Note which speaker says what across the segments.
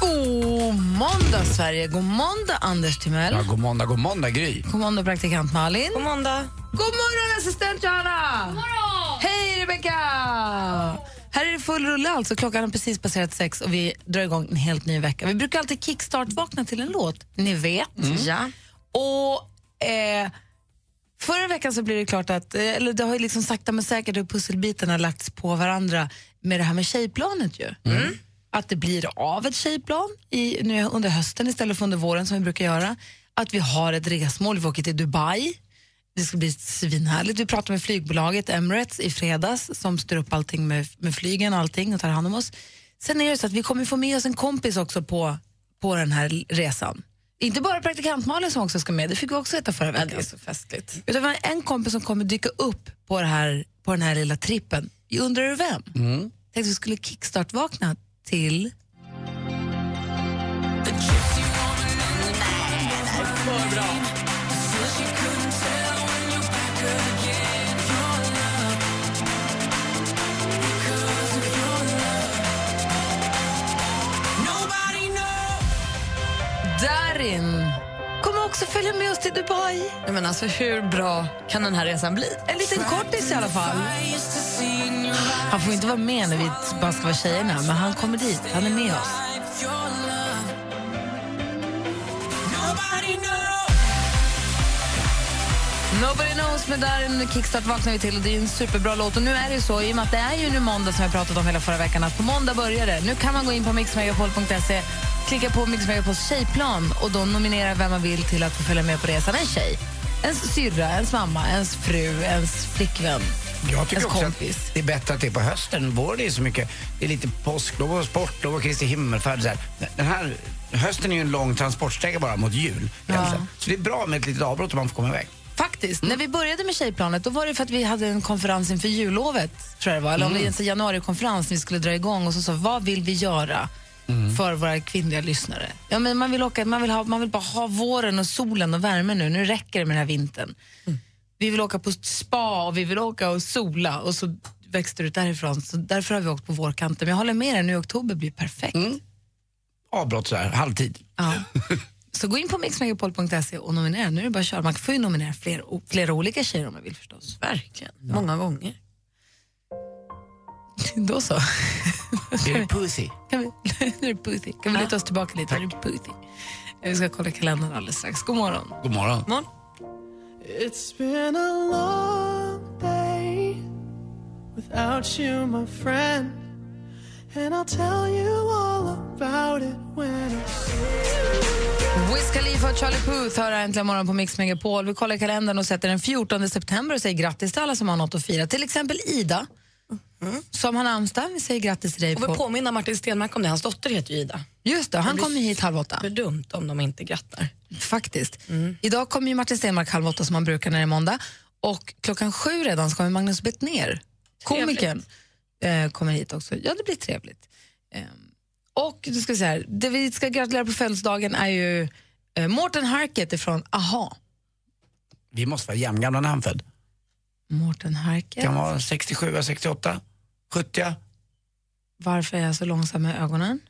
Speaker 1: God måndag, Sverige. God måndag, Anders Timell.
Speaker 2: Ja, god måndag, god måndag Gry.
Speaker 1: God måndag, praktikant Malin. God måndag. God morgon, assistent Johanna. God morgon. Hej, Rebecca. Här är det full rulle. Alltså. Klockan har precis passerat sex och vi drar igång en helt ny vecka. Vi brukar alltid kickstart-vakna till en låt, ni vet. Mm. Ja. Och eh, Förra veckan så blev det klart att, eh, eller det har ju liksom sakta men säkert hur pusselbitarna lagts på varandra med det här med tjejplanet ju. Att det blir av ett tjejplan i, nu under hösten istället för under våren som vi brukar göra. Att vi har ett resmål, vi åker till Dubai. Det ska bli svinhärligt. Vi pratade med flygbolaget Emirates i fredags som styr upp allting med, med flygen och allting och tar hand om oss. Sen är det så att vi kommer få med oss en kompis också på, på den här resan. Inte bara praktikant Malin som också ska med, det fick vi också veta förra veckan. det är så festligt. Utan vi har en kompis som kommer dyka upp på, det här, på den här lilla trippen. Jag Undrar du vem? Tänkte att vi skulle kickstart-vakna till... Darin kommer också följa med oss till Dubai.
Speaker 3: Men alltså, hur bra kan den här resan bli?
Speaker 1: En liten kortis i alla fall. Han får inte vara med när vi bara ska vara tjejerna, men han kommer dit. Han är med oss. Nobody knows med Darin Kickstart vaknar vi till och det är ju en superbra låt. Och nu är det ju så, i och med att det är ju nu måndag som jag pratat om hela förra veckan, att på måndag börjar det. Nu kan man gå in på mixmegapol.se, klicka på Mix Megapols tjejplan och då nominera vem man vill till att få följa med på resan. En tjej, ens syrra, ens mamma, ens fru, ens flickvän.
Speaker 2: Jag tycker
Speaker 1: ens
Speaker 2: också
Speaker 1: kompis.
Speaker 2: att det är bättre att det är på hösten. Våren är ju så mycket, det är lite påsklov och sportlov och Kristi himmelfärd. Så här. Den här hösten är ju en lång transportsträcka bara mot jul. egentligen. Så det är bra med ett litet avbrott om man får komma iväg.
Speaker 1: Faktiskt. När vi började med Tjejplanet då var det för att vi hade en konferens inför jullovet, tror jag det var. Eller om det ens en januarikonferens när vi skulle dra igång och så sa vad vill vi göra för våra kvinnliga lyssnare? Ja, men man, vill åka, man, vill ha, man vill bara ha våren och solen och värmen nu. Nu räcker det med den här vintern. Vi vill åka på spa och vi vill åka och sola och så växte det ut därifrån. Så därför har vi åkt på vårkanten. Men jag håller med dig, nu i oktober blir perfekt.
Speaker 2: Avbrott så här, halvtid.
Speaker 1: Ja. Så gå in på mixmegapol.se och nominera. Nu är det bara att köra. Man får ju nominera fler, o- flera olika tjejer om man vill förstås.
Speaker 3: Verkligen. Många gånger.
Speaker 1: Då så.
Speaker 2: Är det pussy?
Speaker 1: Kan vi, nu är det pussy. Kan vi luta oss tillbaka lite? Nu är det pussy. Vi ska kolla kalendern alldeles strax. God morgon.
Speaker 2: God morgon.
Speaker 3: Morgon.
Speaker 1: Wiz Khalifa och Charlie Puth hör äntligen morgon på Mix Megapol. Vi kollar kalendern och sätter den 14 september och säger grattis till alla som har något att fira. Till exempel Ida, som har namnsdag. Vi säger grattis till dig.
Speaker 3: Mhm. Och vi
Speaker 1: På.
Speaker 3: påminna Martin Stenmarck om det. Hans dotter heter ju Ida.
Speaker 1: Just det, han kommer hit halv åtta.
Speaker 3: För dumt om de inte grattar. Mm.
Speaker 1: Faktiskt. Idag kommer ju Martin Stenmark halv åtta som han brukar när det är måndag. Och klockan sju redan så kommer Magnus Bettner, komikern, eh, kommer hit också. Ja, det blir trevligt. Eh, och du ska säga här, det vi ska gratulera på födelsedagen är ju eh, Mårten Harket från AHA.
Speaker 2: Vi måste vara jämngamla när han född.
Speaker 1: Mårten Harket.
Speaker 2: Kan vara 67, 68, 70.
Speaker 1: Varför är jag så långsam med ögonen?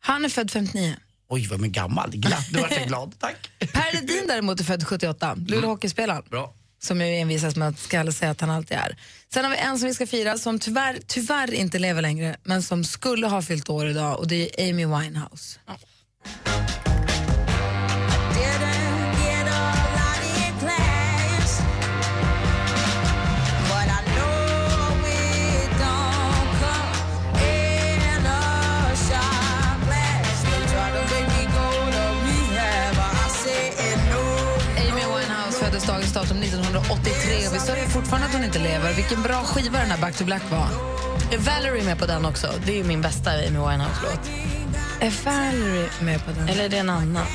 Speaker 1: Han är född 59.
Speaker 2: Oj, vad man är gammal. Glatt. Nu vart jag glad. Tack.
Speaker 1: Per Ledin däremot är född 78, Luleå hockeyspelaren.
Speaker 2: Bra.
Speaker 1: som jag envisas med att ska säga att han alltid är. Sen har vi en som vi ska fira som tyvärr, tyvärr inte lever längre men som skulle ha fyllt år idag och det är Amy Winehouse. Amy Winehouse föddes dagens datum 1983 och vi sörjer fortfarande att hon inte lever. Vilken bra skiva den här Back to Black var.
Speaker 3: Är Valerie med på den också? Det är ju min bästa Amy Winehouse-låt. Är Valerie med på den? Eller är det en annan?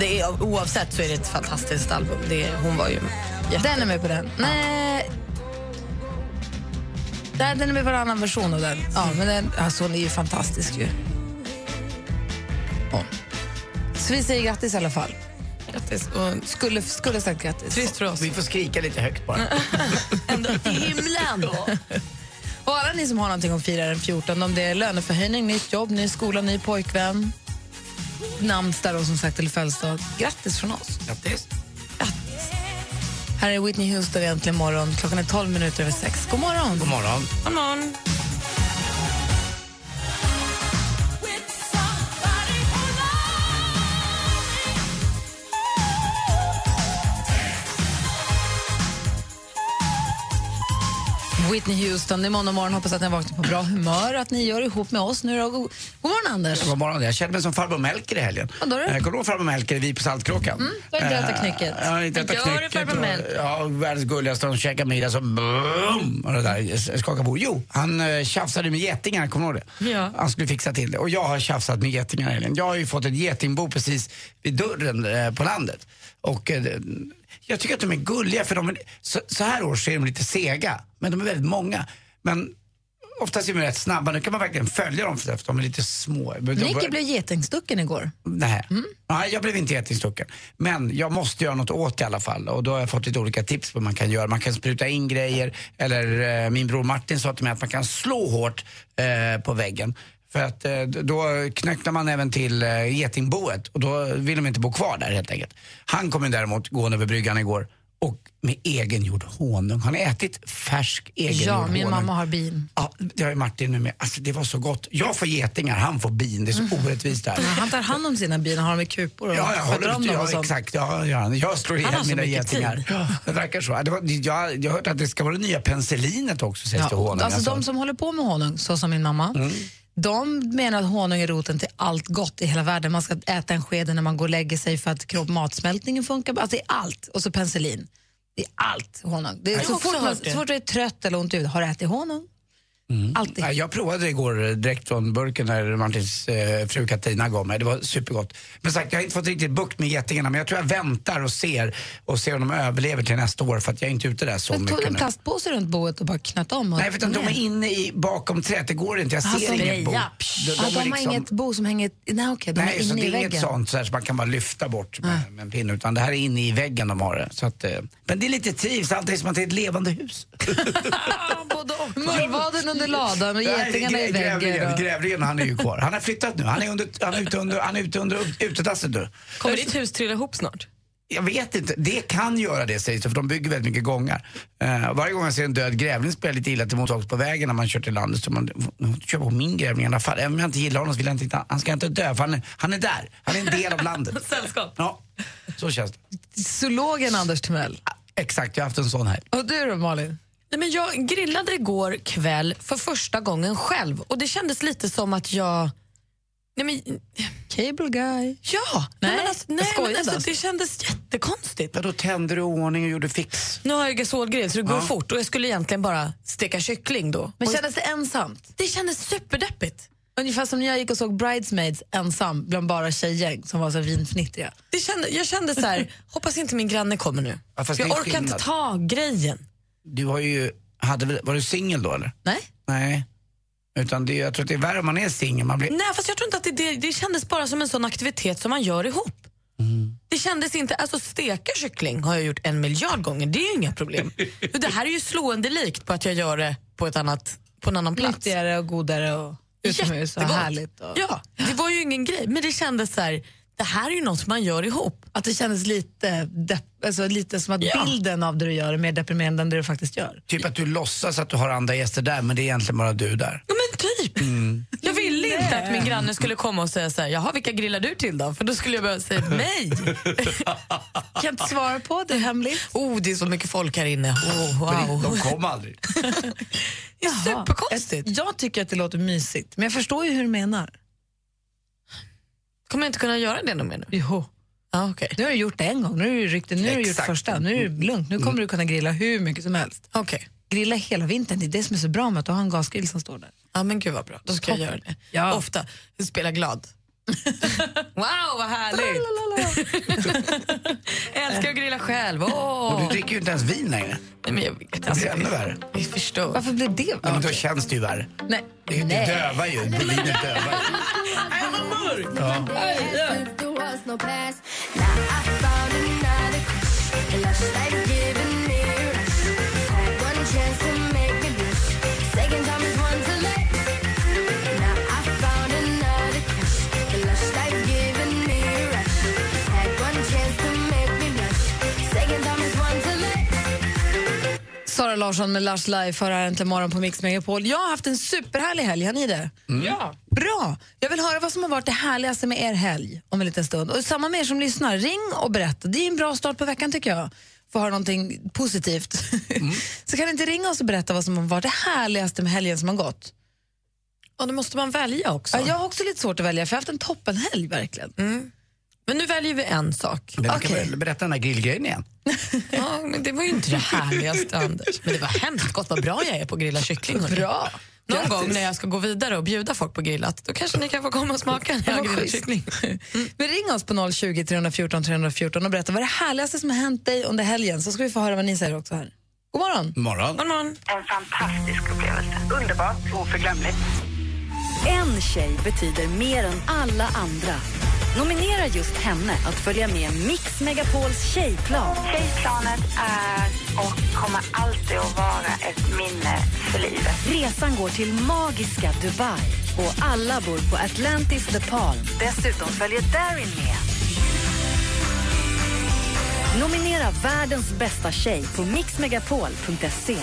Speaker 3: Det är, oavsett så är det ett fantastiskt album. Det är, hon var ju jätte...
Speaker 1: Den är med på den. Nej. Nej, den är med på en annan version av den. Ja, men den, alltså hon är ju fantastisk ju. Ja. Så vi säger grattis i alla fall.
Speaker 3: Grattis. Och
Speaker 1: Skulle, skulle sagt grattis.
Speaker 3: trist för oss.
Speaker 2: Vi får skrika lite högt bara.
Speaker 3: Ända till himlen.
Speaker 1: Och alla ni som har någonting att fira den 14, om det är löneförhöjning, nytt jobb, ny skola, ny pojkvän, namnsdag och som sagt eller födelsedag, grattis från oss.
Speaker 2: Grattis.
Speaker 1: Här är Whitney Houston i äntligen morgon. Klockan är 12 minuter över sex. God morgon!
Speaker 2: God morgon.
Speaker 3: God morgon.
Speaker 1: Whitney Houston, det är måndag morgon. Hoppas att ni vaknar på bra humör och att ni gör ihop med oss nu då. God, god morgon Anders!
Speaker 2: God morgon. Jag kände mig som farbror Melker i helgen.
Speaker 1: Vad då?
Speaker 2: Eh, Kommer du ihåg farbror Melker i Vi på Saltkråkan? Mm,
Speaker 1: då har jag inte ätit knäcket.
Speaker 2: Ja, inte ätit
Speaker 3: Gör det,
Speaker 2: knäcket.
Speaker 3: farbror
Speaker 2: och-
Speaker 3: Melker.
Speaker 2: Ja, världens gulligaste. De käkar middag så boom, och det där skakar på. Jo, han eh, tjafsade med getingar, kommer du ihåg det?
Speaker 3: Ja.
Speaker 2: Han skulle fixa till det. Och jag har tjafsat med getingar i helgen. Jag har ju fått ett getingbo precis vid dörren eh, på landet. Och eh, jag tycker att de är gulliga för de är, så, så här års så är de lite sega. Men de är väldigt många. Men oftast är de rätt snabba. Nu kan man verkligen följa dem för att de är lite små. De
Speaker 1: Nicky
Speaker 2: börjar-
Speaker 1: blev getingstucken igår.
Speaker 2: Nej.
Speaker 1: Mm.
Speaker 2: Nej, jag blev inte getingstucken. Men jag måste göra något åt det i alla fall. Och då har jag fått lite olika tips på vad man kan göra. Man kan spruta in grejer. Eller eh, min bror Martin sa till mig att man kan slå hårt eh, på väggen. För att eh, då knöcklar man även till eh, getingboet och då vill de inte bo kvar där helt enkelt. Han kom ju däremot gående över bryggan igår och med egengjord honung. Han har ätit färsk egengjord
Speaker 1: Ja,
Speaker 2: honung.
Speaker 1: min mamma har bin.
Speaker 2: Ja, det har ju Martin nu med. Alltså det var så gott. Jag får getingar, han får bin. Det är så
Speaker 1: Mm.
Speaker 2: orättvist det här.
Speaker 1: Han tar hand om sina bin, har dem i kupor och
Speaker 2: Ja, jag håller
Speaker 1: om
Speaker 2: inte.
Speaker 1: dem och
Speaker 2: Ja,
Speaker 1: sånt.
Speaker 2: exakt. Ja, ja, han- jag slår
Speaker 1: har
Speaker 2: ihjäl
Speaker 1: så
Speaker 2: mina
Speaker 1: mycket
Speaker 2: getingar.
Speaker 1: tid.
Speaker 2: Ja, det verkar så. Det var, jag, jag har hört att det ska vara det nya penicillinet också, sägs det.
Speaker 1: Ja,
Speaker 2: Honung. Mm.
Speaker 1: alltså de som håller på med honung, så som min mamma, de menar att honung är roten till allt gott i hela världen. Man ska äta en sked när man går och lägger sig för att kropp, matsmältningen funkar. bra. Alltså det är allt. Och så penicillin. Det är allt honung. Det är så,
Speaker 3: också
Speaker 1: fort man,
Speaker 3: hört
Speaker 1: så
Speaker 3: det.
Speaker 1: fort du är trött eller ont i huvudet, har du ätit honung?
Speaker 2: Mm.
Speaker 1: Alltid.
Speaker 2: Ja, jag provade igår eh, direkt från burken när Martins eh, fru Katina gav mig. Det var supergott. Men sagt, jag har inte fått riktigt bukt med getingarna men jag tror jag väntar och ser och ser om de överlever till nästa år för att jag är inte ute där så
Speaker 1: Jag
Speaker 2: mycket
Speaker 1: tog en
Speaker 2: nu.
Speaker 1: plastpåse runt boet och bara knöt om. Och
Speaker 2: Nej, för att de är inne i, bakom trädet. Det går inte. Jag ser
Speaker 1: Alltså,
Speaker 2: inget bo.
Speaker 1: ja, de, de,
Speaker 2: är
Speaker 1: har
Speaker 2: liksom-
Speaker 1: inget bo som hänger... Nej, okej, de
Speaker 2: Nej,
Speaker 1: är
Speaker 2: så
Speaker 1: inne
Speaker 2: det
Speaker 1: i
Speaker 2: är inget
Speaker 1: väggen.
Speaker 2: sånt så här, som man kan bara lyfta bort med, med en pinne. Utan det här är inne i väggen de har det. Så att, eh, men det är lite trivs samtidigt som att det är ett levande hus.
Speaker 1: Mullvaden under ladan och getingarna
Speaker 2: Nej,
Speaker 1: i
Speaker 2: grä- Grävlingen,
Speaker 1: väggen. och-
Speaker 2: grävlingen, han är ju kvar. Han har flyttat nu. Han är, under, han är ute under, han är ute under ut- utedasset nu.
Speaker 3: Kommer ditt hus trilla ihop snart?
Speaker 2: Jag vet inte. Det kan göra det sägs det, för de bygger väldigt mycket gångar. Eh, varje gång jag ser en död grävling spelar jag lite illa till mottags på vägen när man kör till landet. Så man "F- kör på min grävling i alla fall. Även om jag inte gillar honom så vill jag inte, han ska inte dö för han är, han är där. Han är en del av landet.
Speaker 3: Sällskap.
Speaker 2: Ja, så känns det.
Speaker 1: Zoologen Anders Timell.
Speaker 2: Exakt, jag har haft en sån här.
Speaker 1: Och du då, Malin?
Speaker 3: Nej, men jag grillade igår kväll för första gången själv och det kändes lite som att jag... Nej, men,
Speaker 1: Cable guy.
Speaker 3: ja!
Speaker 1: Nej,
Speaker 3: men alltså,
Speaker 1: jag
Speaker 3: nej,
Speaker 1: skojade
Speaker 3: men alltså,
Speaker 1: alltså.
Speaker 3: det kändes jättekonstigt.
Speaker 2: Ja, då tände du ordning och gjorde fix.
Speaker 3: Nu har jag gasolgrill så det går fort och jag skulle egentligen bara steka kyckling då.
Speaker 1: Men
Speaker 3: Och
Speaker 1: kändes det ensamt?
Speaker 3: det kändes superdeppigt.
Speaker 1: Ungefär som när jag gick och såg Bridesmaids ensam bland bara tjejgäng som var så vinfnittriga.
Speaker 3: Det kände, jag kände så här, hoppas inte min granne kommer nu.
Speaker 2: Ja, fast
Speaker 3: För jag
Speaker 2: det är
Speaker 3: orkar inte
Speaker 2: skillnad.
Speaker 3: ta grejen.
Speaker 2: Du har ju, hade, väl- var du singel då eller?
Speaker 1: Nej?
Speaker 2: Nej. Utan det, jag tror att det är värre om man är singel. Man blir,
Speaker 3: Nej, fast jag tror inte att det, det, det kändes bara som en sån aktivitet som man gör ihop.
Speaker 2: Mm.
Speaker 3: Det kändes inte, alltså steka kyckling har jag gjort en miljard gånger, det är ju inga problem. Men det här är ju slående likt på att jag gör det på, ett annat, på en annan plats.
Speaker 1: Nyttigare och godare och utomhus och
Speaker 3: Jättegott.
Speaker 1: härligt. Och...
Speaker 3: Ja, det var ju ingen grej, men det kändes så här, det här är ju något man gör ihop.
Speaker 1: Att det kändes lite, depp, alltså lite som att
Speaker 3: Ja.
Speaker 1: bilden av det du gör är mer deprimerande än det du faktiskt gör.
Speaker 2: typ att du låtsas att du har andra gäster där men det är egentligen bara du där.
Speaker 3: Ja, men typ.
Speaker 1: Mm.
Speaker 3: Jag ville inte att min granne skulle komma och säga så här, jaha vilka grillar du till då? För då skulle jag börja säga nej.
Speaker 1: Kan inte svara på, det är hemligt.
Speaker 3: Oh, det är så mycket folk här inne. Oh,
Speaker 2: Men
Speaker 3: wow.
Speaker 2: De kom aldrig.
Speaker 3: Det är superkonstigt.
Speaker 1: Jag tycker att det låter mysigt, men jag förstår ju hur du menar.
Speaker 3: Kommer jag inte kunna göra det någon mer nu?
Speaker 1: Jo.
Speaker 3: Ja, Ah, okej.
Speaker 1: Nu har du gjort det en gång, nu har du ryckt det, nu har du gjort
Speaker 2: Exakt.
Speaker 1: första, nu är det lugnt, nu kommer du kunna grilla hur mycket som helst.
Speaker 3: Okej.
Speaker 1: grilla hela vintern. Det är det som är så bra med att du har en gasgrill som står där.
Speaker 3: Ja men gud vad bra, då ska jag göra det.
Speaker 1: Ja.
Speaker 3: Ofta, spela glad. wow vad härligt! jag älskar att grilla själv. Åh.
Speaker 2: Och du dricker ju inte ens vin längre.
Speaker 3: Nej, men jag vet,
Speaker 2: Det
Speaker 3: alltså,
Speaker 2: blir ännu värre.
Speaker 3: vi förstör.
Speaker 1: Varför blev det?
Speaker 2: Ja, men då känns det ju värre.
Speaker 1: Nej.
Speaker 2: Det, det dövar ju. Vinet dövar ju.
Speaker 1: Sara Larsson med Lars Live för här äntligen morgon på Mix Megapol. Jag har haft en superhärlig helg, har ni det? Ja. Bra! Jag vill höra vad som har varit det härligaste med er helg om en liten stund. Och samma med er som lyssnar, ring och berätta. Det är en bra start på veckan tycker jag. Få höra någonting positivt. Så kan ni inte ringa oss och berätta vad som har varit det härligaste med helgen som har gått?
Speaker 3: Och då måste man välja också.
Speaker 1: Ja, jag har också lite svårt att välja för jag har haft en toppenhelg verkligen.
Speaker 3: Mm. Men nu väljer vi en sak.
Speaker 2: Men du
Speaker 1: Okej.
Speaker 2: kan väl berätta den här grillgrejen igen.
Speaker 3: Ja, men det var ju inte det härligaste, Anders. Men det var hemskt gott. Vad bra jag är på att grilla kyckling. hörni.
Speaker 1: Bra.
Speaker 3: Någon gång när jag ska gå vidare och bjuda folk på grillat, då kanske ni kan få komma och smaka när jag
Speaker 1: Vad
Speaker 3: grillar
Speaker 1: schysst.
Speaker 3: kyckling.
Speaker 1: Men ring oss på 020 314 314 och berätta vad det härligaste som har hänt dig under helgen så ska vi få höra vad ni säger också här. God morgon!
Speaker 2: Morgon.
Speaker 3: Morgon, morgon.
Speaker 4: En fantastisk upplevelse. Underbart, oförglömligt.
Speaker 5: En tjej betyder mer än alla andra. Nominera just henne att följa med Mix Megapols tjejplan.
Speaker 4: Tjejplanet är och kommer alltid att vara ett minne för livet.
Speaker 5: Resan går till magiska Dubai och alla bor på Atlantis The Palm. Dessutom följer Darin med. Nominera världens bästa tjej på mixmegapol.se.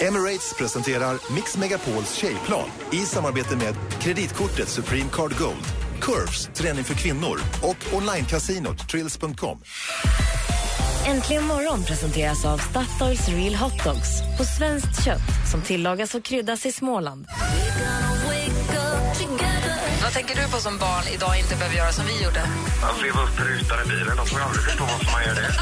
Speaker 6: Emirates presenterar Mix Megapols tjejplan i samarbete med kreditkortet Supreme Card Gold, Curves, träning för kvinnor och onlinekasinot Trills.com.
Speaker 5: Äntligen morgon presenteras av Statoils Real Hot Dogs på svenskt kött som tillagas och kryddas i Småland.
Speaker 1: Vad tänker du på som barn idag inte behöver göra som vi gjorde?
Speaker 7: Att leva uppbrutad i bilen, de får aldrig förstå varför man gör det.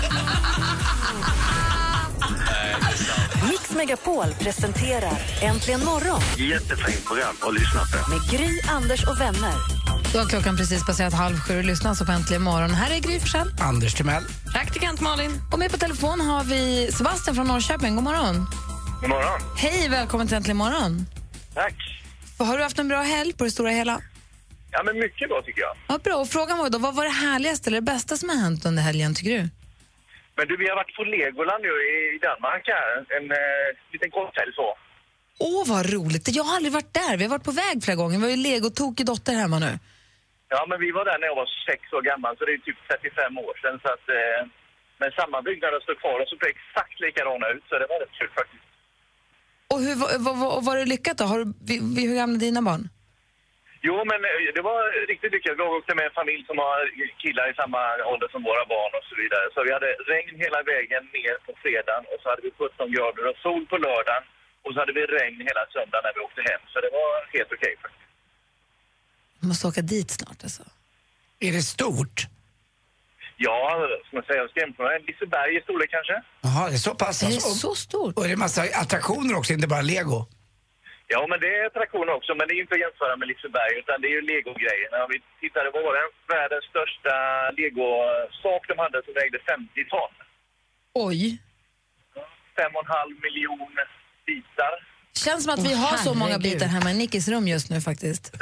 Speaker 5: Mix Megapol presenterar Äntligen morgon
Speaker 7: Jättefint program att lyssna på.
Speaker 5: med Gry, Anders och vänner.
Speaker 1: Då har klockan precis passerat halv sju och lyssnar så på Äntligen morgon. Här är Gry Forssell.
Speaker 2: Anders Timell.
Speaker 3: Praktikant Malin.
Speaker 1: Och med på telefon har vi Sebastian från Norrköping. God morgon!
Speaker 7: God morgon.
Speaker 1: Hej, välkommen till Äntligen morgon!
Speaker 7: Tack.
Speaker 1: Har du haft en bra helg på det stora hela?
Speaker 7: Ja, men mycket bra tycker jag.
Speaker 1: Ja, bra. Och frågan var ju då, vad var det härligaste eller det bästa som har hänt under helgen tycker du?
Speaker 7: Men du, vi har varit på Legoland nu i Danmark här. En eh, liten kort helg så.
Speaker 1: Åh, vad roligt! Jag har aldrig varit där. Vi har varit på väg flera gånger. Vi har ju legotokig dotter hemma nu.
Speaker 7: Ja, men vi var där när jag var sex år gammal, så det är typ 35 år sedan. Så att, eh, men samma byggnader står kvar, de såg exakt likadana ut, så det var rätt kul faktiskt.
Speaker 1: Och hur, var, var, var, var det lyckat då? Har du, vi, vi, hur gamla är dina barn?
Speaker 7: Jo, men eh, det var riktigt lyckat. Vi åkte med en familj som har killar i samma ålder som våra barn och så vidare. Så vi hade regn hela vägen ner på fredagen och så hade vi 17 grader och sol på lördagen. Och så hade vi regn hela söndagen när vi åkte hem, så det var helt okej faktiskt.
Speaker 1: Jag måste åka dit snart alltså.
Speaker 2: Är det stort?
Speaker 7: Ja, som jag säger, jag ska jämföra en Liseberg i storlek kanske?
Speaker 2: Jaha, det är så pass
Speaker 1: Det är
Speaker 2: alltså.
Speaker 1: så stort.
Speaker 2: Och är det massa attraktioner också, inte bara lego?
Speaker 7: Ja, men det är attraktioner också, men det är ju inte att jämföra med Liseberg, utan det är ju Lego-grejerna. Om vi tittade på den världens största Lego-sak de hade som vägde 50 ton.
Speaker 1: Oj.
Speaker 7: 5,5 miljon bitar.
Speaker 1: Känns som att
Speaker 3: Åh,
Speaker 1: vi har så många
Speaker 3: herregud.
Speaker 1: bitar hemma i Nickis rum just nu faktiskt.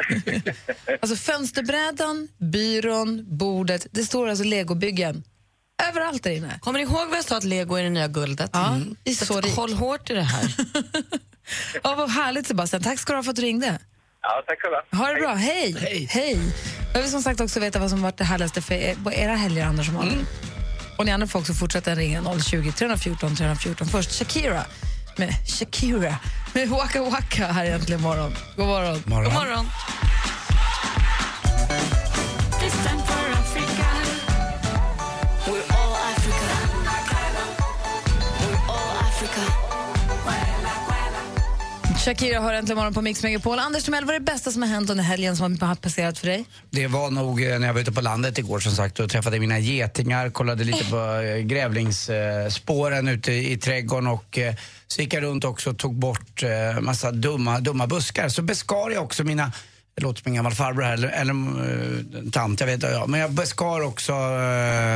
Speaker 1: alltså fönsterbrädan, byrån, bordet. Det står alltså legobyggen överallt där inne.
Speaker 3: Kommer ni ihåg vad jag sa att lego är det nya guldet?
Speaker 1: Ja,
Speaker 3: Mm.
Speaker 1: det är så
Speaker 3: att
Speaker 1: rikt.
Speaker 3: håll hårt i det här.
Speaker 1: Ja, vad härligt Sebastian. Tack ska du ha för att du ringde.
Speaker 7: Ja, tack själva.
Speaker 1: Ha det bra. Hej.
Speaker 2: Hej.
Speaker 1: Jag vill som sagt också veta vad som varit det härligaste för er, på era helger, Anders och Malin. Och ni andra får också fortsätta ringa 020 314 314. Först Shakira med, Shakira med Waka Waka här egentligen morgon. God morgon.
Speaker 3: God morgon.
Speaker 1: Shakira har äntligen morgon på Mix Megapol. Anders Timell, vad är det bästa som har hänt under helgen som har passerat för dig?
Speaker 2: Det var nog eh, när jag var ute på landet igår som sagt och träffade mina getingar, kollade lite på eh, grävlingsspåren ute i trädgården och eh, så gick jag runt också och tog bort eh, massa dumma, dumma buskar. Så beskar jag också mina det låter som en gammal farbror här, eller, eller eh, tant, jag vet inte. Ja. Men jag beskar också eh,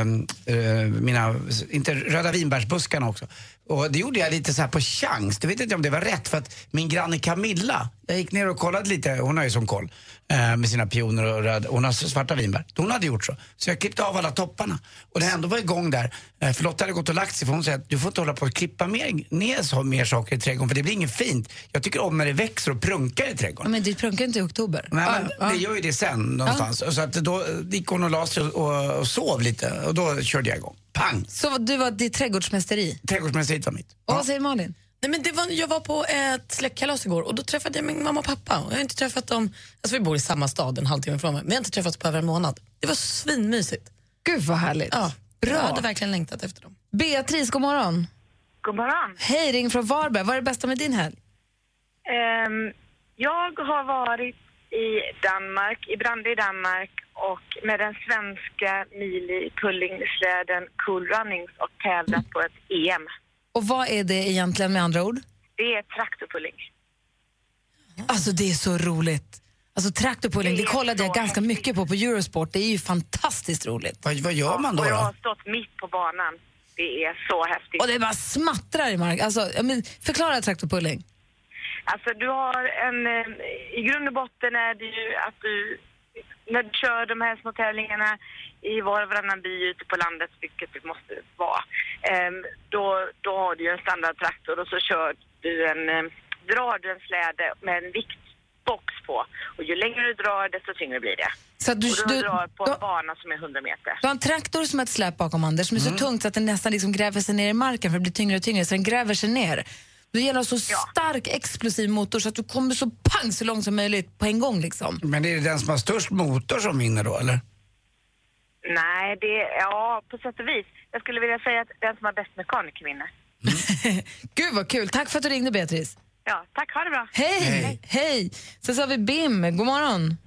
Speaker 2: eh, mina, inte röda vinbärsbuskarna också. Och det gjorde jag lite så här på chans. Det vet inte om det var rätt för att min granne Camilla, jag gick ner och kollade lite, hon har ju som koll eh, med sina pioner och röda, hon har svarta vinbär. Hon hade gjort så. Så jag klippte av alla topparna. Och när jag ändå var igång där, eh, för Lotta hade gått och lagt sig för hon säger att du får inte hålla på och klippa mer, ner så, mer saker i trädgården för det blir inget fint. Jag tycker om när det växer och prunkar i trädgården.
Speaker 1: Ja, men det prunkar inte i oktober.
Speaker 2: Nej,
Speaker 1: Ja,
Speaker 2: men
Speaker 1: ja.
Speaker 2: det gör ju det sen någonstans. Så att då gick hon och la sig och, och sov lite och då körde jag igång. Pang!
Speaker 1: Så du var ditt trädgårdsmästeri.
Speaker 2: Trädgårdsmästeriet var mitt.
Speaker 1: Och vad säger Malin?
Speaker 3: Nej, men det var, jag var på ett släktkalas igår och då träffade jag min mamma och pappa. Och jag har inte träffat dem, alltså vi bor i samma stad en halvtimme från mig, men jag har inte träffats på över en månad. Det var svinmysigt.
Speaker 1: Gud vad härligt.
Speaker 3: Ja,
Speaker 1: Bra.
Speaker 3: Jag hade verkligen längtat efter dem.
Speaker 1: Beatrice, god morgon.
Speaker 4: God morgon.
Speaker 1: Hej, ring från Varberg. Vad är det bästa med din helg?
Speaker 4: Ehm, jag har varit i Danmark, i Brande i Danmark och med den svenska mili pullingsleden Cool Runnings och tävlat på ett EM.
Speaker 1: Och vad är det egentligen med andra ord?
Speaker 4: Det är traktorpulling.
Speaker 1: Alltså det är så roligt. Alltså traktorpulling, det kollade jag ganska mycket på på Eurosport. Det är ju fantastiskt roligt.
Speaker 2: Vad, vad gör man då?
Speaker 4: Och jag
Speaker 2: då?
Speaker 4: har stått mitt på banan. Det är så häftigt.
Speaker 1: Och det bara smattrar i marken. Alltså, ja, men, förklara traktorpulling.
Speaker 4: Alltså du har en, eh, i grund och botten är det ju att du, när du kör de här små tävlingarna i var och varannan by ute på landet, vilket det måste vara, ehm, då, då har du ju en standardtraktor och så kör du en, eh, drar du en släde med en viktbox på. Och ju längre du drar desto tyngre blir det.
Speaker 1: Så att du,
Speaker 4: Och
Speaker 1: du,
Speaker 4: du, drar på
Speaker 1: du,
Speaker 4: en bana som är 100 meter.
Speaker 1: du har en traktor som har ett släp bakom Anders som är
Speaker 4: Mm.
Speaker 1: så tungt så att den nästan liksom gräver sig ner i marken för det blir tyngre och tyngre så den gräver sig ner. Det gäller så stark explosiv motor så att du kommer så pang så långt som möjligt på en gång liksom.
Speaker 2: Men är det den som har störst motor som vinner då eller?
Speaker 4: Nej, det, ja på sätt och vis. Jag skulle vilja säga att den som har bäst mekaniker vinner.
Speaker 1: Gud vad kul, tack för att du ringde Beatrice.
Speaker 4: Ja, tack, ha det bra.
Speaker 1: Hej! Hej! Sen så har vi Bim, god morgon.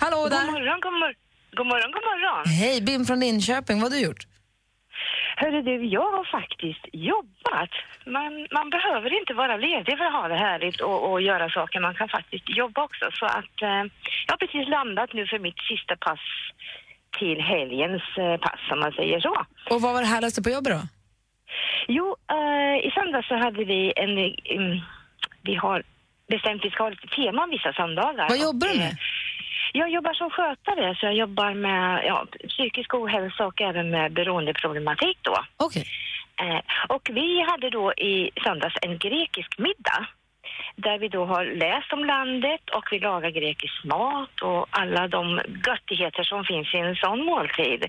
Speaker 1: Hallå där!
Speaker 4: morgon, god morgon. God morgon, god morgon.
Speaker 1: Hej, Bim från Linköping, vad har du gjort?
Speaker 4: Hörru du, jag har faktiskt jobbat. Man, man behöver inte vara ledig för att ha det härligt och, och göra saker. Man kan faktiskt jobba också. Så att eh, jag har precis landat nu för mitt sista pass till helgens eh, pass om man säger så.
Speaker 1: Och vad var det härligaste på jobbet då?
Speaker 4: Jo, eh, i söndags så hade vi en... mm, vi har bestämt vi ska ha lite teman vissa söndagar.
Speaker 1: Vad jobbar du
Speaker 4: Och, eh,
Speaker 1: med?
Speaker 4: Jag jobbar som skötare, så jag jobbar med ja, psykisk ohälsa och även med beroendeproblematik då.
Speaker 1: Okej.
Speaker 4: Eh, Och vi hade då i söndags en grekisk middag där vi då har läst om landet och vi lagar grekisk mat och alla de göttigheter som finns i en sån måltid.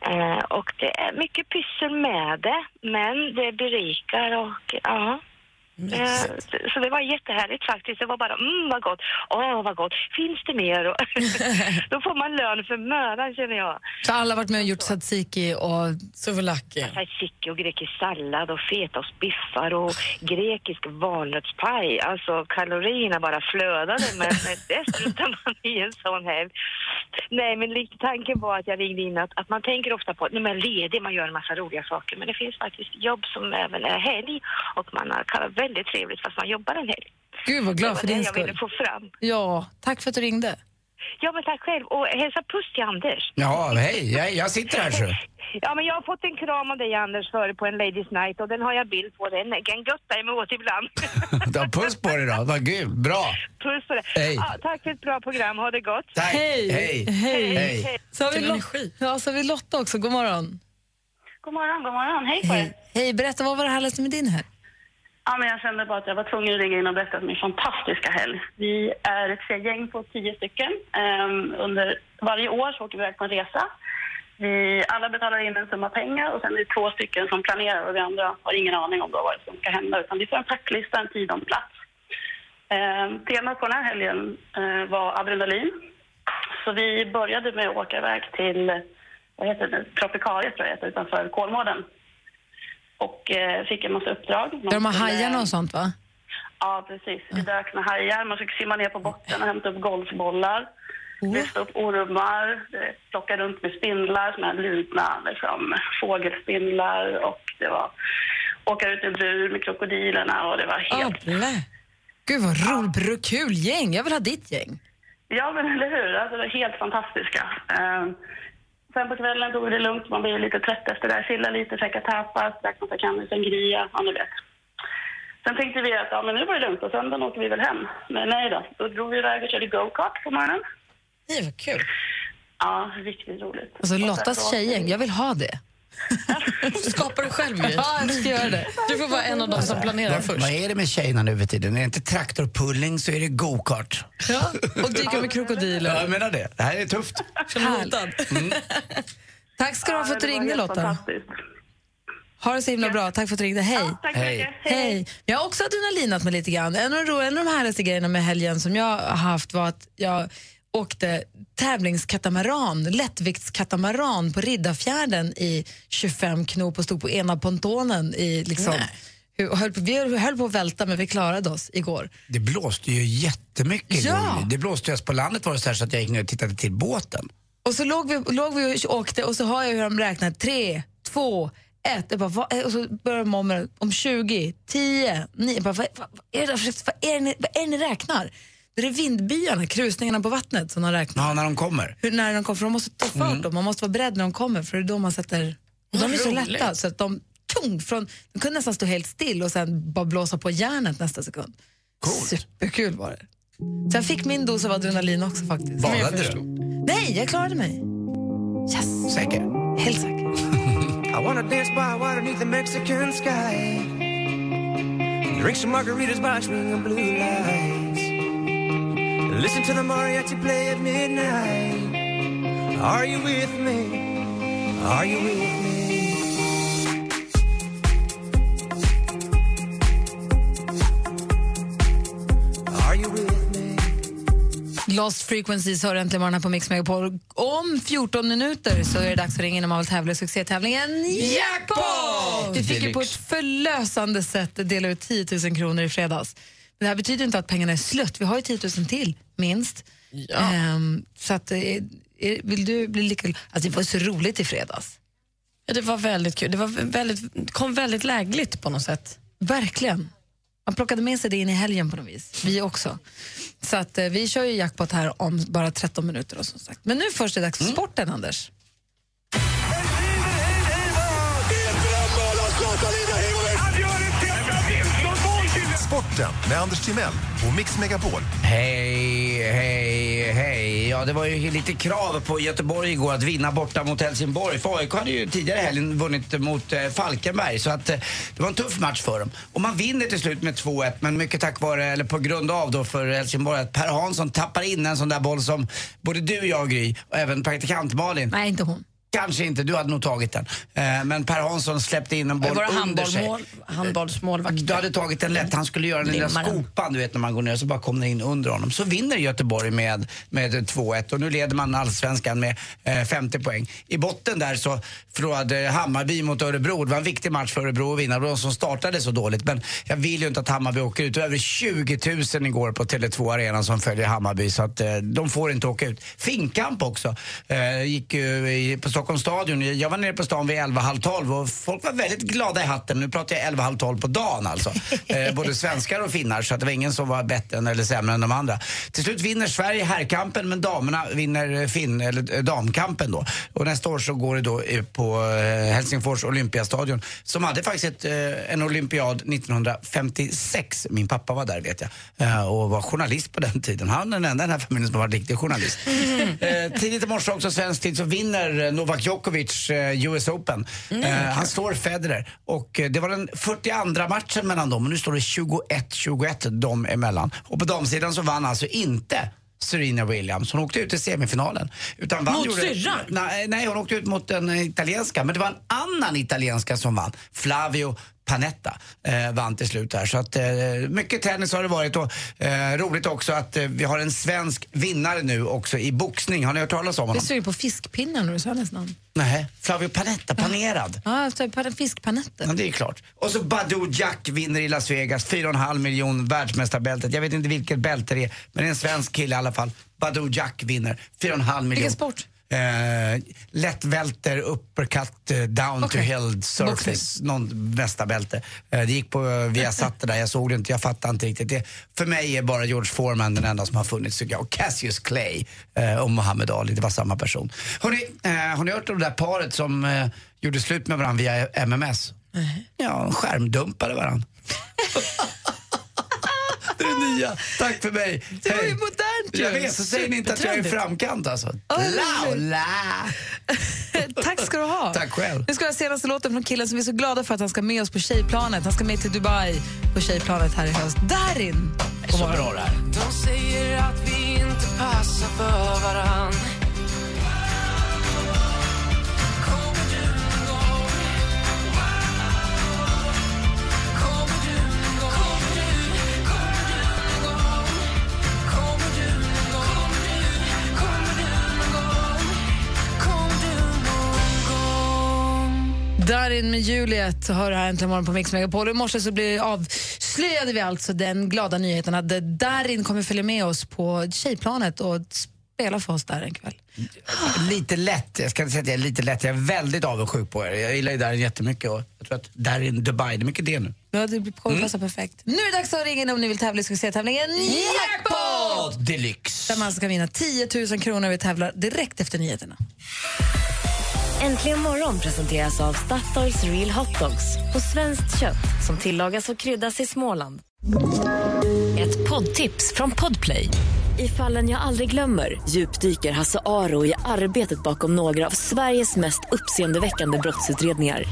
Speaker 4: Eh, och det är mycket pyssel med det, men det berikar och ja. Eh, Så det var jättehärligt faktiskt. Det var bara mm vad gott, åh vad gott, finns det mer? Och då får man lön för mödan känner jag.
Speaker 1: Så alla har varit med och gjort tzatziki och...
Speaker 3: Souvlaki.
Speaker 4: tzatziki och grekisk sallad och fetaostbiffar och grekisk valnötspaj. Alltså kalorierna bara flödade men det slutar man i en sån helg. Nej men lite tanken var att jag ringde in att, att man tänker ofta på att när man är ledig man gör en massa roliga saker men det finns faktiskt jobb som även är helg och man kan ha väldigt trevligt fast man jobbar en helg.
Speaker 1: Gud vad
Speaker 4: det
Speaker 1: glad
Speaker 4: var
Speaker 1: för
Speaker 4: det
Speaker 1: din
Speaker 4: jag ville
Speaker 1: skull.
Speaker 4: få fram.
Speaker 1: Ja, tack för att du ringde.
Speaker 4: Ja men tack själv och hälsa puss till Anders.
Speaker 2: Ja, hej, jag, jag sitter här så.
Speaker 4: Ja, men jag har fått en kram av dig Anders före på en Ladies Night och den har jag bild på. Den kan götta emot ibland.
Speaker 2: Du har puss på dig då, vad gud, bra.
Speaker 4: Puss på dig.
Speaker 2: Hej.
Speaker 4: Ja, tack för ett bra program. Ha det gott.
Speaker 2: Tack.
Speaker 1: Hej.
Speaker 2: Hej.
Speaker 1: Hej!
Speaker 2: Hej.
Speaker 1: Så har, vi
Speaker 3: Vilken
Speaker 1: Lot-
Speaker 3: energi.
Speaker 1: ja, så har vi Lotta också, god morgon.
Speaker 8: God morgon, god morgon. Hej på er.
Speaker 1: Hej, Hej berätta vad var det härligaste med din här?
Speaker 8: Ja, men jag kände bara att jag var tvungen att ringa in och berätta om min fantastiska helg. Vi är ett tjejgäng på tio stycken. Ehm, under varje år så åker vi iväg på en resa. Vi alla betalar in en summa pengar och sen är det två stycken som planerar och vi andra har ingen aning om då vad som ska hända utan vi får en packlista, en tid och en plats. Ehm, temat på den här helgen eh, var adrenalin. Så vi började med att åka iväg till, vad heter det, Tropicariet tror jag heter, utanför Kolmården. Och eh, fick en massa uppdrag.
Speaker 1: Där de har
Speaker 8: Man skulle-
Speaker 1: hajarna och sånt va?
Speaker 8: Ja, precis. Vi dök med hajar. Man fick simma ner på botten och hämta upp golfbollar.
Speaker 1: Mm.
Speaker 8: Lyfta upp ormar, eh, plocka runt med spindlar, såna här luna liksom, fågelspindlar och det var åka ut i bur med krokodilerna och det var helt...
Speaker 1: Jävlar. Gud vad roligt och kul gäng. Jag vill ha ditt gäng.
Speaker 8: Ja, men eller hur? Alltså, det var helt fantastiska. Ehm, sen på kvällen tog vi det lugnt. Man blir lite trött efter det där. Chilla lite, käka tapas, drack massa Canis Sangria, ja ni vet. Sen tänkte vi att ja, men nu var det lugnt och
Speaker 1: Ah.
Speaker 8: söndagen åker vi väl hem. Men nej då, då drog vi iväg och körde go-kart på morgonen.
Speaker 1: Nej, vad kul.
Speaker 8: Ja, riktigt roligt.
Speaker 1: Alltså
Speaker 8: Och sen
Speaker 1: Lottas
Speaker 8: så-
Speaker 1: tjejgäng, jag vill ha det.
Speaker 3: Skapar du själv Gry?
Speaker 1: Ja, jag ska göra det.
Speaker 3: Du får vara en av de som planerar
Speaker 2: Vad, vad
Speaker 3: först.
Speaker 2: är det med tjejerna nu för tiden? Är det inte traktorpulling så är det go-kart.
Speaker 1: Ja, och dyka med
Speaker 2: Ja,
Speaker 1: krokodiler.
Speaker 2: jag menar det. Det här är tufft.
Speaker 3: Känner mig hotad.
Speaker 1: Tack ska du ha för att du
Speaker 8: Ja, det var
Speaker 1: ringde
Speaker 8: helt
Speaker 1: Lotta.
Speaker 8: fantastiskt.
Speaker 1: Ha det så himla bra. Tack för att du ringde. Hej.
Speaker 8: Tack så
Speaker 2: Hej.
Speaker 8: mycket.
Speaker 1: Hej! Jag har också adrenalinat mig lite grann. En av, de ro- en av de härligaste grejerna med helgen som jag har haft var att jag åkte tävlingskatamaran, lättviktskatamaran på Riddarfjärden i 25 knop och stod på ena pontonen i liksom... Hur- och Höll på, vi höll på att välta men vi klarade oss igår.
Speaker 2: Det blåste ju jättemycket.
Speaker 1: Ja.
Speaker 2: Gulli. Det blåste ju alltså på landet var det så här så att jag gick ner och tittade till båten.
Speaker 1: Och så låg vi, låg vi och åkte och så hör jag hur de räknar. Tre, två, ett. Jag bara, vad, är- och så börjar de om, med- om 20, 10, 9. Jag bara, vad, vad, vad är det, där för- vad, är det, ni- vad är det ni räknar? Det är krusningarna, krusningarna på vattnet som de räknar.
Speaker 2: Ja, när de kommer.
Speaker 1: Hur, när de kommer, för de måste ta
Speaker 2: Mm.
Speaker 1: fart dem. Man måste vara beredd när de kommer för det är då man sätter... Och de är så
Speaker 3: roligt.
Speaker 1: lätta så att de, tung, från, de kunde nästan stå helt still och sen bara blåsa på järnet nästa sekund.
Speaker 2: Coolt.
Speaker 1: Superkul var det. Så jag fick min dos av adrenalin också faktiskt.
Speaker 2: Badade du?
Speaker 1: Nej, jag klarade mig. Yes,
Speaker 2: Säker?
Speaker 1: helt säker.
Speaker 9: I wanna dance by water beneath the Mexican sky. Drink some margaritas by swinging blue lights. Listen to the mariachi play at midnight. Are you with me? Are you with me? Are you with me?
Speaker 1: Lost Frequencies hör äntligen morgonen på Mix Megapol. Om 14 minuter så är det dags att ringa in om man vill tävla i succétävlingen Jackpot! Vi fick ju på ett förlösande sätt dela ut 10 000 kronor i fredags. Men det här betyder inte att pengarna är slut. Vi har ju 10 000 till, minst. Ehm, så att, eh, är, vill du bli lika... Alltså det var ju så roligt i fredags.
Speaker 3: Ja, Det var väldigt kul. Det var väldigt, kom väldigt lägligt på något sätt.
Speaker 1: Verkligen. Man plockade med sig det in i helgen på något vis. Vi också. Så att, eh, vi kör ju jackpot här om bara 13 minuter. Och som sagt. Men nu först är det dags för
Speaker 2: Mm.
Speaker 1: sporten, Anders.
Speaker 6: Sporten med Anders Timell och Mix Megapol.
Speaker 2: Hej, hej, hej. Ja, det var ju lite krav på Göteborg igår att vinna borta mot Helsingborg. För AIK hade ju tidigare i helgen vunnit mot eh, Falkenberg. Så att, eh, det var en tuff match för dem. Och man vinner till slut med 2-1. Men mycket tack vare, eller på grund av då för Helsingborg, att Per Hansson tappar in en sån där boll som både du, jag, Gry och även praktikant Malin.
Speaker 1: Nej, inte hon.
Speaker 2: Kanske inte, du hade nog tagit den. Eh, Men Per Hansson släppte in en boll
Speaker 3: Våra
Speaker 2: under sig.
Speaker 3: handbollmål, handbollsmålvakter.
Speaker 2: Du hade tagit den lätt. Han skulle göra den lilla
Speaker 3: Limmar den.
Speaker 2: skopan, du vet när man går ner så bara kom den in under honom. Så vinner Göteborg med, med 2-1 och nu leder man allsvenskan med eh, 50 poäng. I botten där så förlorade Hammarby mot Örebro. Det var en viktig match för Örebro att vinna. Det var de som startade så dåligt. Men jag vill ju inte att Hammarby åker ut. Det var över 20 000 igår på Tele2 Arena som följer Hammarby så att eh, de får inte åka ut. Finkamp också. Eh, gick ju i- på Stockholms stadion. Jag var nere på stan vid 11, halv 12 och folk var väldigt glada i hatten. Nu pratar jag 11, halv 12 på dagen alltså. Eh, både svenskar och finnar så att det var ingen som var bättre än, eller sämre än de andra. Till slut vinner Sverige herrkampen men damerna vinner eh, fin, eller, eh, damkampen då. Och nästa år så går det då eh, på eh, Helsingfors Olympiastadion som hade faktiskt ett, eh, en olympiad 1956. Min pappa var där vet jag eh, och var journalist på den tiden. Han är den enda i den här familjen som var riktig journalist. Eh, Tidigt i morse också svensk tid så vinner eh, Novak Djokovic eh, US Open. Eh, Han slår Federer och eh, det var den 42 matchen mellan dem och nu står det 21-21 dem emellan. Och på damsidan så vann alltså inte Serena Williams. Hon åkte ut i semifinalen. Utan vann
Speaker 3: Mot
Speaker 2: gjorde-
Speaker 3: syrran?
Speaker 2: Nej, nej, hon åkte ut mot den eh, italienska. Men det var en annan italienska som vann. Flavio Panetta eh, vann till slut här. Så att, eh, mycket tennis har det varit och eh, roligt också att eh, vi har en svensk vinnare nu också i boxning. Har ni hört talas om
Speaker 1: Jag är
Speaker 2: honom?
Speaker 1: sugen på fiskpinnar när du sa hennes namn.
Speaker 2: Nej, Flavio Panetta, panerad.
Speaker 1: Ja, typ fiskpanetter.
Speaker 2: Ja, det är klart. Och så Badoo Jack vinner i Las Vegas, 4,5 miljon världsmästarbältet. Jag vet inte vilket bälte det är, men det är en svensk kille i alla fall. Badoo Jack vinner, 4,5 miljon.
Speaker 1: Vilken sport?
Speaker 2: Eh, lättvälter, uppercut, eh, down
Speaker 1: Okej.
Speaker 2: to held surface,
Speaker 1: Boxning.
Speaker 2: någon mästarbälte. Eh, det gick på eh, Viasat det där, jag såg det inte, jag fattade inte riktigt. Det, för mig är bara George Foreman den enda som har funnits tycker jag. Och Cassius Clay eh, och Muhammad Ali, det var samma person. Hörrni, eh, har ni hört om det där paret som eh, gjorde slut med varandra via MMS? Ja, skärmdumpade varandra. det är det nya. Tack för mig. Det var ju
Speaker 1: modernt
Speaker 2: Jag vet, så säger ni inte att jag är i framkant alltså.
Speaker 1: Tack ska du ha.
Speaker 2: Mm. Tack själv.
Speaker 1: Nu ska jag ha senaste låten från killen som vi är så glada för att han ska med oss på tjejplanet. Han ska med till Dubai på tjejplanet här i höst. Darin!
Speaker 2: Det är så bra det här.
Speaker 9: De säger att vi inte passar för varann
Speaker 1: Darin med Juliet hör här äntligen morgon på Mix Megapol. I morse så blev avslöjade vi alltså den glada nyheten att eh, Darin kommer följa med oss på tjejplanet och spela för oss där en kväll.
Speaker 2: Lite lätt, jag ska inte säga att jag är lite lätt, jag är väldigt avundsjuk på er. Jag gillar ju Darin jättemycket och jag tror att Darin Dubai, det är mycket det nu.
Speaker 1: Ja, det kommer passa perfekt. Nu är det dags att ringa in om ni vill tävla i succétävlingen Jackpot!
Speaker 2: Deluxe.
Speaker 1: Där man ska vinna 10 000 kronor. Vi tävlar direkt efter nyheterna.
Speaker 5: Äntligen morgon presenteras av Statoils Real Hot Dogs på svenskt kött som tillagas och kryddas i Småland. Ett poddtips från Podplay. I fallen jag aldrig glömmer djupdyker Hasse Aro i arbetet bakom några av Sveriges mest uppseendeväckande brottsutredningar.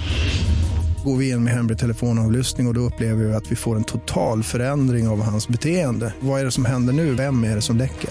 Speaker 10: Går vi in med hemlig telefonavlyssning och, och då upplever vi att vi får en total förändring av hans beteende. Vad är det som händer nu? Vem är det som läcker?